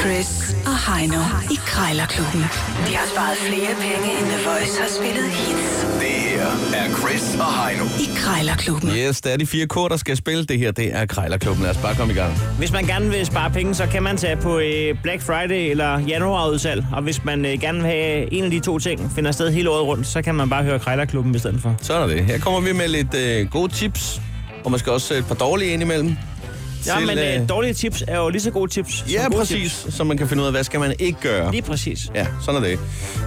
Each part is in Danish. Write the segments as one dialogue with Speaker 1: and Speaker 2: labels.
Speaker 1: Chris og Heino i Krejlerklubben. De har sparet flere penge, end The Voice har spillet hits
Speaker 2: Det her er Chris og Heino.
Speaker 1: i Krejlerklubben.
Speaker 3: Yes, det er de fire kår, der skal spille det her. Det er Krejlerklubben. Lad os bare komme i gang.
Speaker 4: Hvis man gerne vil spare penge, så kan man tage på øh, Black Friday eller januarudsalg. Og hvis man øh, gerne vil have en af de to ting finder sted hele året rundt, så kan man bare høre Krejlerklubben i stedet for.
Speaker 3: Sådan er det. Her kommer vi med lidt øh, gode tips, og måske også et par dårlige indimellem.
Speaker 4: Ja,
Speaker 3: Til,
Speaker 4: men
Speaker 3: øh,
Speaker 4: øh, dårlige tips er jo lige så gode tips som
Speaker 3: Ja,
Speaker 4: gode
Speaker 3: præcis.
Speaker 4: Tips.
Speaker 3: Så man kan finde ud af, hvad skal man ikke gøre.
Speaker 4: Lige præcis.
Speaker 3: Ja, sådan er det.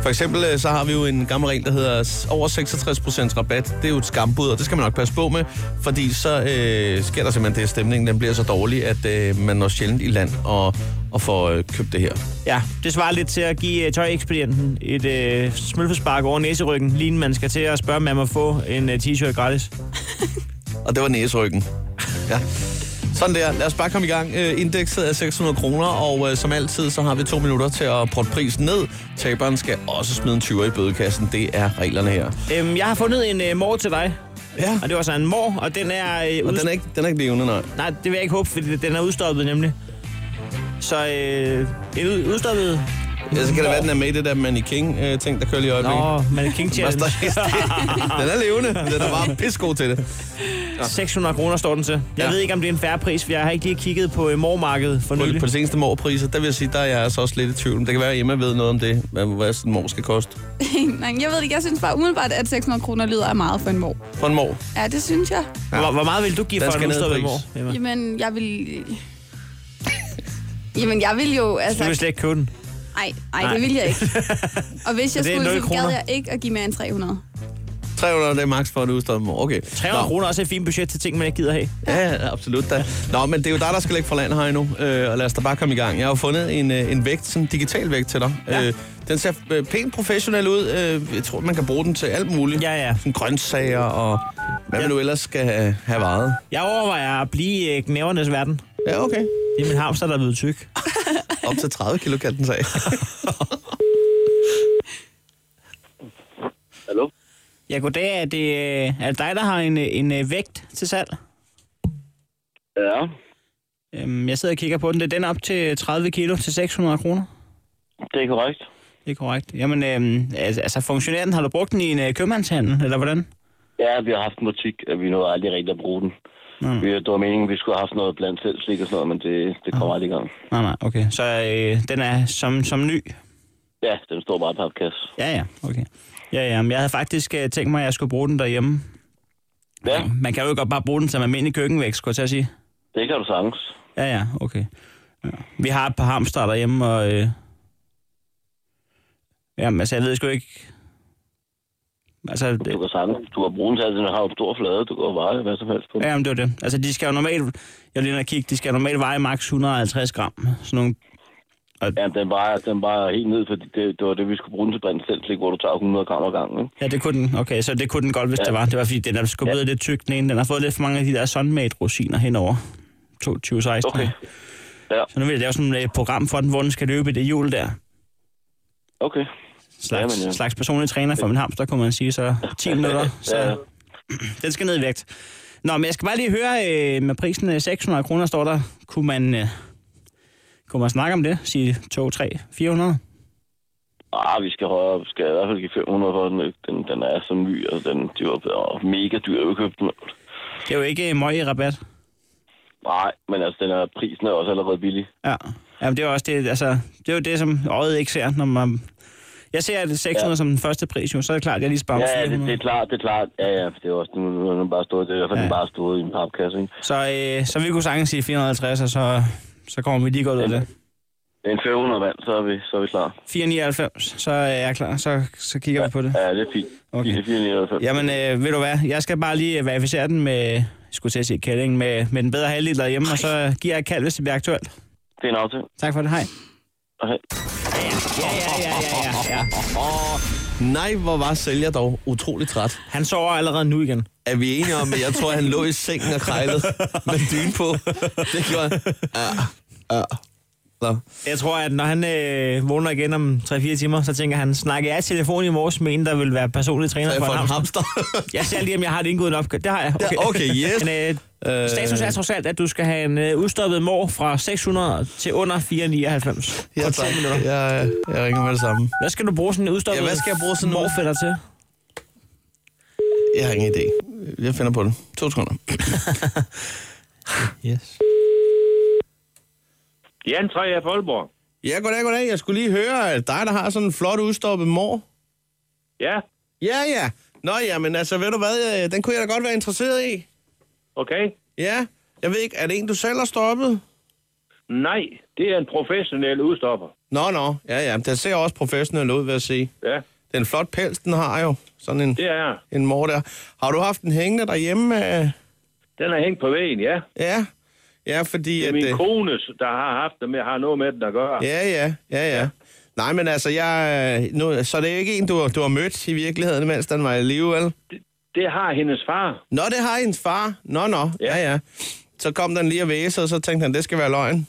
Speaker 3: For eksempel øh, så har vi jo en gammel regel, der hedder s- over 66% rabat. Det er jo et skambud, og det skal man nok passe på med, fordi så øh, sker der simpelthen det, at stemningen den bliver så dårlig, at øh, man når sjældent i land og, og får øh, købt det her.
Speaker 4: Ja, det svarer lidt til at give øh, tøjekspedienten et øh, smølfespark over næseryggen, lige inden man skal til at spørge, om man må få en øh, t-shirt gratis.
Speaker 3: Og det var næseryggen. Ja. Sådan der. Lad os bare komme i gang. Øh, Indekset er 600 kroner, og øh, som altid, så har vi to minutter til at proppe prisen ned. Taberen skal også smide en 20 i bødekassen. Det er reglerne her.
Speaker 4: Øhm, jeg har fundet en øh, mor til dig,
Speaker 3: Ja.
Speaker 4: og det var så en mor, og den er... Øh,
Speaker 3: Og
Speaker 4: ud-
Speaker 3: den er ikke, den er ikke levende, nej.
Speaker 4: Nej, det vil jeg ikke håbe, fordi den er udstoppet nemlig. Så øh, en ud- udstoppet...
Speaker 3: Ja, så kan det være, den er med i det der Manny King-ting, der kører lige i øjeblikket.
Speaker 4: Nå, man er King
Speaker 3: Hvad
Speaker 4: Challenge.
Speaker 3: står der? den er levende. Den er bare pissegod til det.
Speaker 4: 600 kroner står den til. Jeg
Speaker 3: Ja.
Speaker 4: ved ikke, om det er en færre pris, for jeg har ikke lige kigget på øh, mormarkedet for
Speaker 3: På,
Speaker 4: nylig.
Speaker 3: på de seneste morpriser, der vil jeg sige, der er jeg altså også lidt i tvivl. Men Det kan være, at Emma ved noget om det, hvad, hvad sådan en mor skal koste.
Speaker 5: Nej, jeg ved det ikke. Jeg synes bare umiddelbart, at 600 kroner lyder af meget for en mor.
Speaker 3: For en mor.
Speaker 5: Ja, det synes jeg.
Speaker 4: Hvor, hvor meget vil du give
Speaker 3: Den
Speaker 4: for
Speaker 3: skal
Speaker 4: en
Speaker 3: ned i
Speaker 4: udstoppet
Speaker 3: pris.
Speaker 4: mor? Emma?
Speaker 5: Jamen, jeg vil... Jamen, jeg vil jo...
Speaker 4: Du
Speaker 5: Altså...
Speaker 4: vil slet ikke købe den.
Speaker 5: Nej, nej,
Speaker 4: Nej.
Speaker 5: det vil jeg ikke. Og hvis jeg
Speaker 4: Så det er
Speaker 5: skulle,
Speaker 4: nul
Speaker 5: så
Speaker 4: kroner?
Speaker 5: gad jeg ikke at give mere end 300.
Speaker 3: 300 det er max for en udstoppet mor. Okay.
Speaker 4: 300
Speaker 3: Nå.
Speaker 4: kroner er også et fint budget til ting, man ikke gider have.
Speaker 3: Ja, ja, absolut da. Nå, men det er jo dig, der skal lægge for land her endnu, øh, og lad os da bare komme i gang. Jeg har jo fundet en, øh, en vægt, sådan en digital vægt til dig.
Speaker 4: Ja.
Speaker 3: Øh, den ser øh, pænt professionel ud. Øh, jeg tror, man kan bruge den til alt muligt.
Speaker 4: Ja, ja.
Speaker 3: Sådan grøntsager og hvad man
Speaker 4: Ja.
Speaker 3: nu ellers skal have, have varet.
Speaker 4: Jeg overvejer at blive øh, knævernes verden.
Speaker 3: Ja, okay.
Speaker 4: Det er min hamster, der er blevet tyk.
Speaker 3: Op til 30 kilo kan den sige.
Speaker 6: Hallo?
Speaker 4: Ja, goddag. Er det, øh, er det dig, der har en, øh, en øh, vægt til salg?
Speaker 6: Ja,
Speaker 4: Øhm, Jeg sidder og kigger på den. Det er den op til 30 kilo til 600 kroner.
Speaker 6: det er korrekt.
Speaker 4: Det er korrekt. Jamen, øhm, altså, altså funktionerer den? Har du brugt den i en øh, købmandshandel, eller hvordan?
Speaker 6: Ja, vi har haft en butik, og vi nåede aldrig rigtig at bruge den. Mm. Vi, det var meningen, at vi skulle have haft noget blandt selv slik og sådan noget, men det, det kommer aldrig i gang.
Speaker 4: Nej, nej, okay. Så øh, den er som, som ny?
Speaker 6: Ja, den står bare i papkasse.
Speaker 4: Ja, ja, okay. Ja, ja, men jeg havde faktisk øh, tænkt mig, at jeg skulle bruge den derhjemme.
Speaker 6: Ja,
Speaker 4: Man kan jo godt bare bruge den som almindelig køkkenvægt, skulle jeg til at sige.
Speaker 6: det kan du sagtens.
Speaker 4: Ja, ja, okay. Ja. Vi har et par hamster derhjemme, og... Øh... Jamen, altså, jeg ved sgu ikke... Altså, det...
Speaker 6: Du kan sagtens. Du kan bruge den til alt, den har jo en stor flade, du kan jo veje hvad som helst på.
Speaker 4: Ja, jamen, det var det. Altså, de skal jo normalt... Jeg lige kigge, de skal normalt veje maks 150 gram. Sådan nogle...
Speaker 6: Ja, den vejer, den vejer helt ned, fordi det, det var det, vi skulle bruge den til blandt selv slik, hvor du tager 100 gram ad gangen. Ikke?
Speaker 4: Ja, det kunne den. Okay, så det kunne den godt, hvis ja. det var. Det var, fordi den er skubbet ja. lidt tyk, den ene. Den har fået lidt for mange af de der sunmade-rosiner henover. 2016.
Speaker 6: Okay. Ja,
Speaker 4: Så nu vil jeg lave sådan et øh, program for den, hvor den skal løbe i det hjul der.
Speaker 6: okay.
Speaker 4: Slags,
Speaker 6: Jamen, ja.
Speaker 4: slags personlig træner for min hamster, kunne man sige. Så 10 minutter. Så
Speaker 6: Ja.
Speaker 4: den skal ned i vægt. Nå, men jeg skal bare lige høre, øh, med prisen øh, 600 kroner står der, kunne man, øh, kunne man snakke om det? Sige 2, 3, 400?
Speaker 6: Ah, vi skal højere. Vi skal i hvert fald give 500 for den. ikke? Den, den er så ny, og den, de var åh, mega dyr, at vi købte den.
Speaker 4: Det er jo ikke øh, møg i rabat.
Speaker 6: Nej, men altså, den er, prisen er også allerede billig.
Speaker 4: Ja. Jamen, det er jo også det, altså, det er jo det, som øjet ikke ser, når man... Jeg ser at 600 ja.
Speaker 6: Ja.
Speaker 4: som den første pris, jo, så er det klart, at jeg lige sparer om
Speaker 6: Ja, ja, det,
Speaker 4: 400.
Speaker 6: det er klart, det er klart. Ja, ja, det er også, nu, nu er den bare stået, det er i hvert fald
Speaker 4: Ja.
Speaker 6: ja. bare stået i en papkasse, ikke?
Speaker 4: Så, øh, så vi kunne sagtens sige 450, og så, så kommer vi lige godt ud af det.
Speaker 6: En 500 vand, så er vi, så er vi klar.
Speaker 4: 499, så er jeg klar, så, så kigger vi på det.
Speaker 6: Ja, det er fint.
Speaker 4: Okay.
Speaker 6: Okay. Det er 499.
Speaker 4: Jamen, øh, ved du hvad, jeg skal bare lige øh, verificere den med, jeg skulle til at sige kællingen, med, med den bedre halvdel derhjemme, og så giver jeg et kald, hvis det bliver aktuelt.
Speaker 6: Det er en aftale.
Speaker 4: Tak for det, hej.
Speaker 6: Okay.
Speaker 4: Ja, ja, ja, ja, ja, ja.
Speaker 3: Nej, hvor var sælger dog utrolig træt.
Speaker 4: Han sover allerede nu igen.
Speaker 3: Er vi enige om, at jeg tror, han lå i sengen og krejlede med dyne på? Det gjorde han. Ja, ja. Nå.
Speaker 4: Jeg tror, at når han øh, vågner igen om 3-4 timer, så tænker han, snakker jeg i telefon i morges med en, der vil være personlig træner
Speaker 3: Jeg
Speaker 4: for
Speaker 3: får
Speaker 4: en
Speaker 3: en
Speaker 4: ham?
Speaker 3: hamster.
Speaker 4: Jeg ser lige, om jeg har et indgået opgave. Det har jeg.
Speaker 3: Ja, okay, yes.
Speaker 4: Men, øh,
Speaker 3: Øh,
Speaker 4: Status er trods alt, at du skal have en øh, udstoppet mor fra 600 til under 499.
Speaker 3: ja,
Speaker 4: På
Speaker 3: tak.
Speaker 4: 10 minutter.
Speaker 3: Jeg, jeg ringer med det samme.
Speaker 4: Hvad skal du bruge sådan en udstoppet
Speaker 3: Ja, hvad skal jeg bruge sådan en-
Speaker 4: morfætter til?
Speaker 3: Jeg har ingen idé. Jeg finder på det. To sekunder. yes.
Speaker 6: Jan Træer fra Aalborg.
Speaker 3: Ja, goddag, goddag. Jeg skulle lige høre øh, dig, der har sådan en flot udstoppet mor.
Speaker 6: Ja,
Speaker 3: Ja, ja. Nå ja, men altså, ved du hvad, øh, den kunne jeg da godt være interesseret i.
Speaker 6: okay.
Speaker 3: Ja, jeg ved ikke, er det en, du selv har stoppet?
Speaker 6: Nej, det er en professionel udstopper.
Speaker 3: Nå, nå, ja, ja, den ser også professionel ud, vil jeg sige.
Speaker 6: Ja,
Speaker 3: Det er en flot pels, den har jo. Sådan en,
Speaker 6: det er
Speaker 3: en mor der. Har du haft den hængende derhjemme? øh?
Speaker 6: Den er hængt på væggen, ja.
Speaker 3: Ja, ja, fordi...
Speaker 6: Det er
Speaker 3: at, øh,
Speaker 6: min kone, der har haft det med, har noget med den at gøre.
Speaker 3: Ja, ja, ja, ja. Nej, men altså, jeg, øh, nu, så det er ikke en, du, har- du har mødt i virkeligheden, mens den var i live, vel?
Speaker 6: Det har hendes far.
Speaker 3: Nå, det har hendes far. Nå, nå, ja, ja. Så kom den lige og væsede, og så tænkte han, det skal være løgn.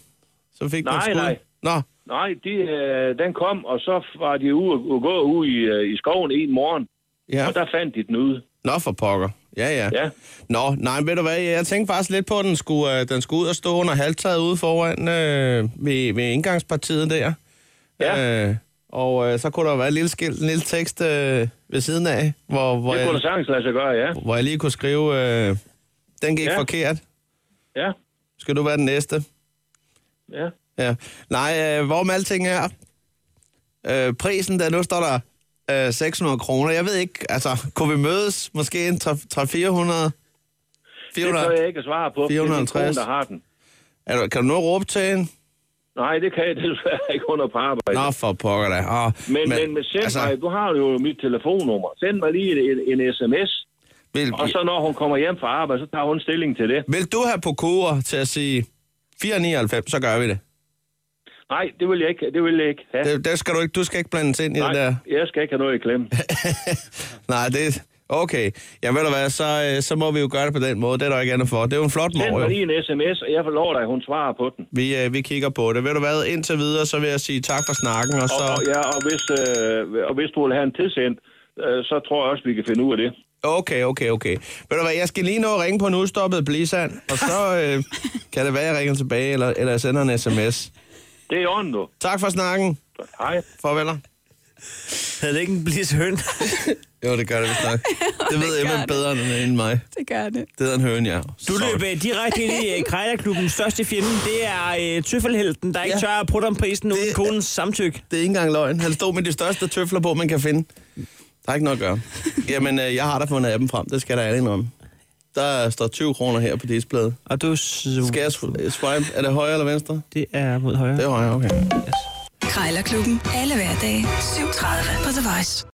Speaker 3: Så fik den
Speaker 6: Nej,
Speaker 3: skud.
Speaker 6: nej.
Speaker 3: Nå,
Speaker 6: Nej, de, øh, den kom, og så var de ude, ude, gå ud i, øh, i skoven en morgen,
Speaker 3: ja.
Speaker 6: og der fandt de den ude.
Speaker 3: Nå, for pokker. Ja, ja.
Speaker 6: Ja.
Speaker 3: Nå, nej, ved du hvad, jeg tænkte faktisk lidt på, at den skulle, øh, den skulle ud og stå under halvtaget ude foran øh, ved, ved indgangspartiet der.
Speaker 6: Ja.
Speaker 3: Øh, og øh, så kunne der være et lille skilt, en lille tekst øh, ved siden af, hvor, hvor,
Speaker 6: Det
Speaker 3: jeg,
Speaker 6: kunne du sagtens lade sig gøre, ja.
Speaker 3: hvor jeg lige kunne skrive, øh, den gik ja.
Speaker 6: Ja.
Speaker 3: forkert,
Speaker 6: Ja,
Speaker 3: skal du være den næste?
Speaker 6: ja.
Speaker 3: Ja. Nej, øh, hvor med alting er, øh, prisen der, nu står der øh, 600 kroner. Jeg ved ikke, altså, kunne vi mødes måske en 300-400?
Speaker 6: Det
Speaker 3: 400?
Speaker 6: kan jeg ikke svare på, for det er min
Speaker 3: 450.
Speaker 6: kone, der har den.
Speaker 3: Er du, kan du nu råbe til hende?
Speaker 6: Nej, det kan jeg desværre ikke under på arbejde.
Speaker 3: Nå, for pokker da. Oh,
Speaker 6: Men, men, men send altså... mig, du har jo mit telefonnummer. Send mig lige en, en, en sms,
Speaker 3: vil,
Speaker 6: og så når hun kommer hjem fra arbejde, så tager hun stilling til det.
Speaker 3: vil du have på koger til at sige 499, så gør vi det.
Speaker 6: Nej, det vil jeg ikke, det vil jeg ikke have.
Speaker 3: det. Det, skal du ikke, du skal ikke blandes ind i
Speaker 6: Nej,
Speaker 3: det der.
Speaker 6: jeg skal ikke have noget i klemme.
Speaker 3: Nej, det Okay. Ja, ved du hvad, så, øh, så må vi jo gøre det på den måde. Det er der ikke andet for. Det er jo en flot
Speaker 6: Send
Speaker 3: mor,
Speaker 6: mig
Speaker 3: jo.
Speaker 6: lige en sms, og jeg forlover dig, at hun svarer på den.
Speaker 3: Vi, øh, vi kigger på det. Ved du hvad, indtil videre, så vil jeg sige tak for snakken, og
Speaker 6: Og, og,
Speaker 3: så...
Speaker 6: ja, og, hvis, øh, og hvis du vil have en tilsendt, øh, så tror jeg også, vi kan finde ud af det.
Speaker 3: Okay, okay, okay. Ved du hvad, jeg skal lige nå at ringe på en udstoppet blisand, og så øh, kan det være, jeg ringer tilbage, eller, eller jeg sender en sms.
Speaker 6: Det er i orden, du.
Speaker 3: Tak for snakken.
Speaker 6: Hej.
Speaker 3: Farveler.
Speaker 4: Havde det ikke en blis høn?
Speaker 3: Jo, det gør det vist nok. Det ved Emma bedre end, end mig.
Speaker 5: Det gør det.
Speaker 3: Det er en høn, ja.
Speaker 4: Du løb øh, direkte ind i øh, Krejlerklubbens største fjende. Det er øh, tøffelhelten, der ikke
Speaker 3: Ja.
Speaker 4: ja. tør at putte om prisen uden
Speaker 3: Det-
Speaker 4: konens samtykke.
Speaker 3: Det er ikke engang løgn. Han stod med de største tøfler på, man kan finde. Der er ikke noget at gøre. Jamen, øh, jeg har da fundet appen frem. Det skal der alle om. Der står 20 kroner her på displayen.
Speaker 4: Og du... s-
Speaker 3: Skal jeg sw- øh, swipe? Er det højre eller venstre?
Speaker 4: Det er mod højre.
Speaker 3: Det er højre, okay.
Speaker 1: Krejlerklubben. Alle hverdage. 7.30 på The Voice.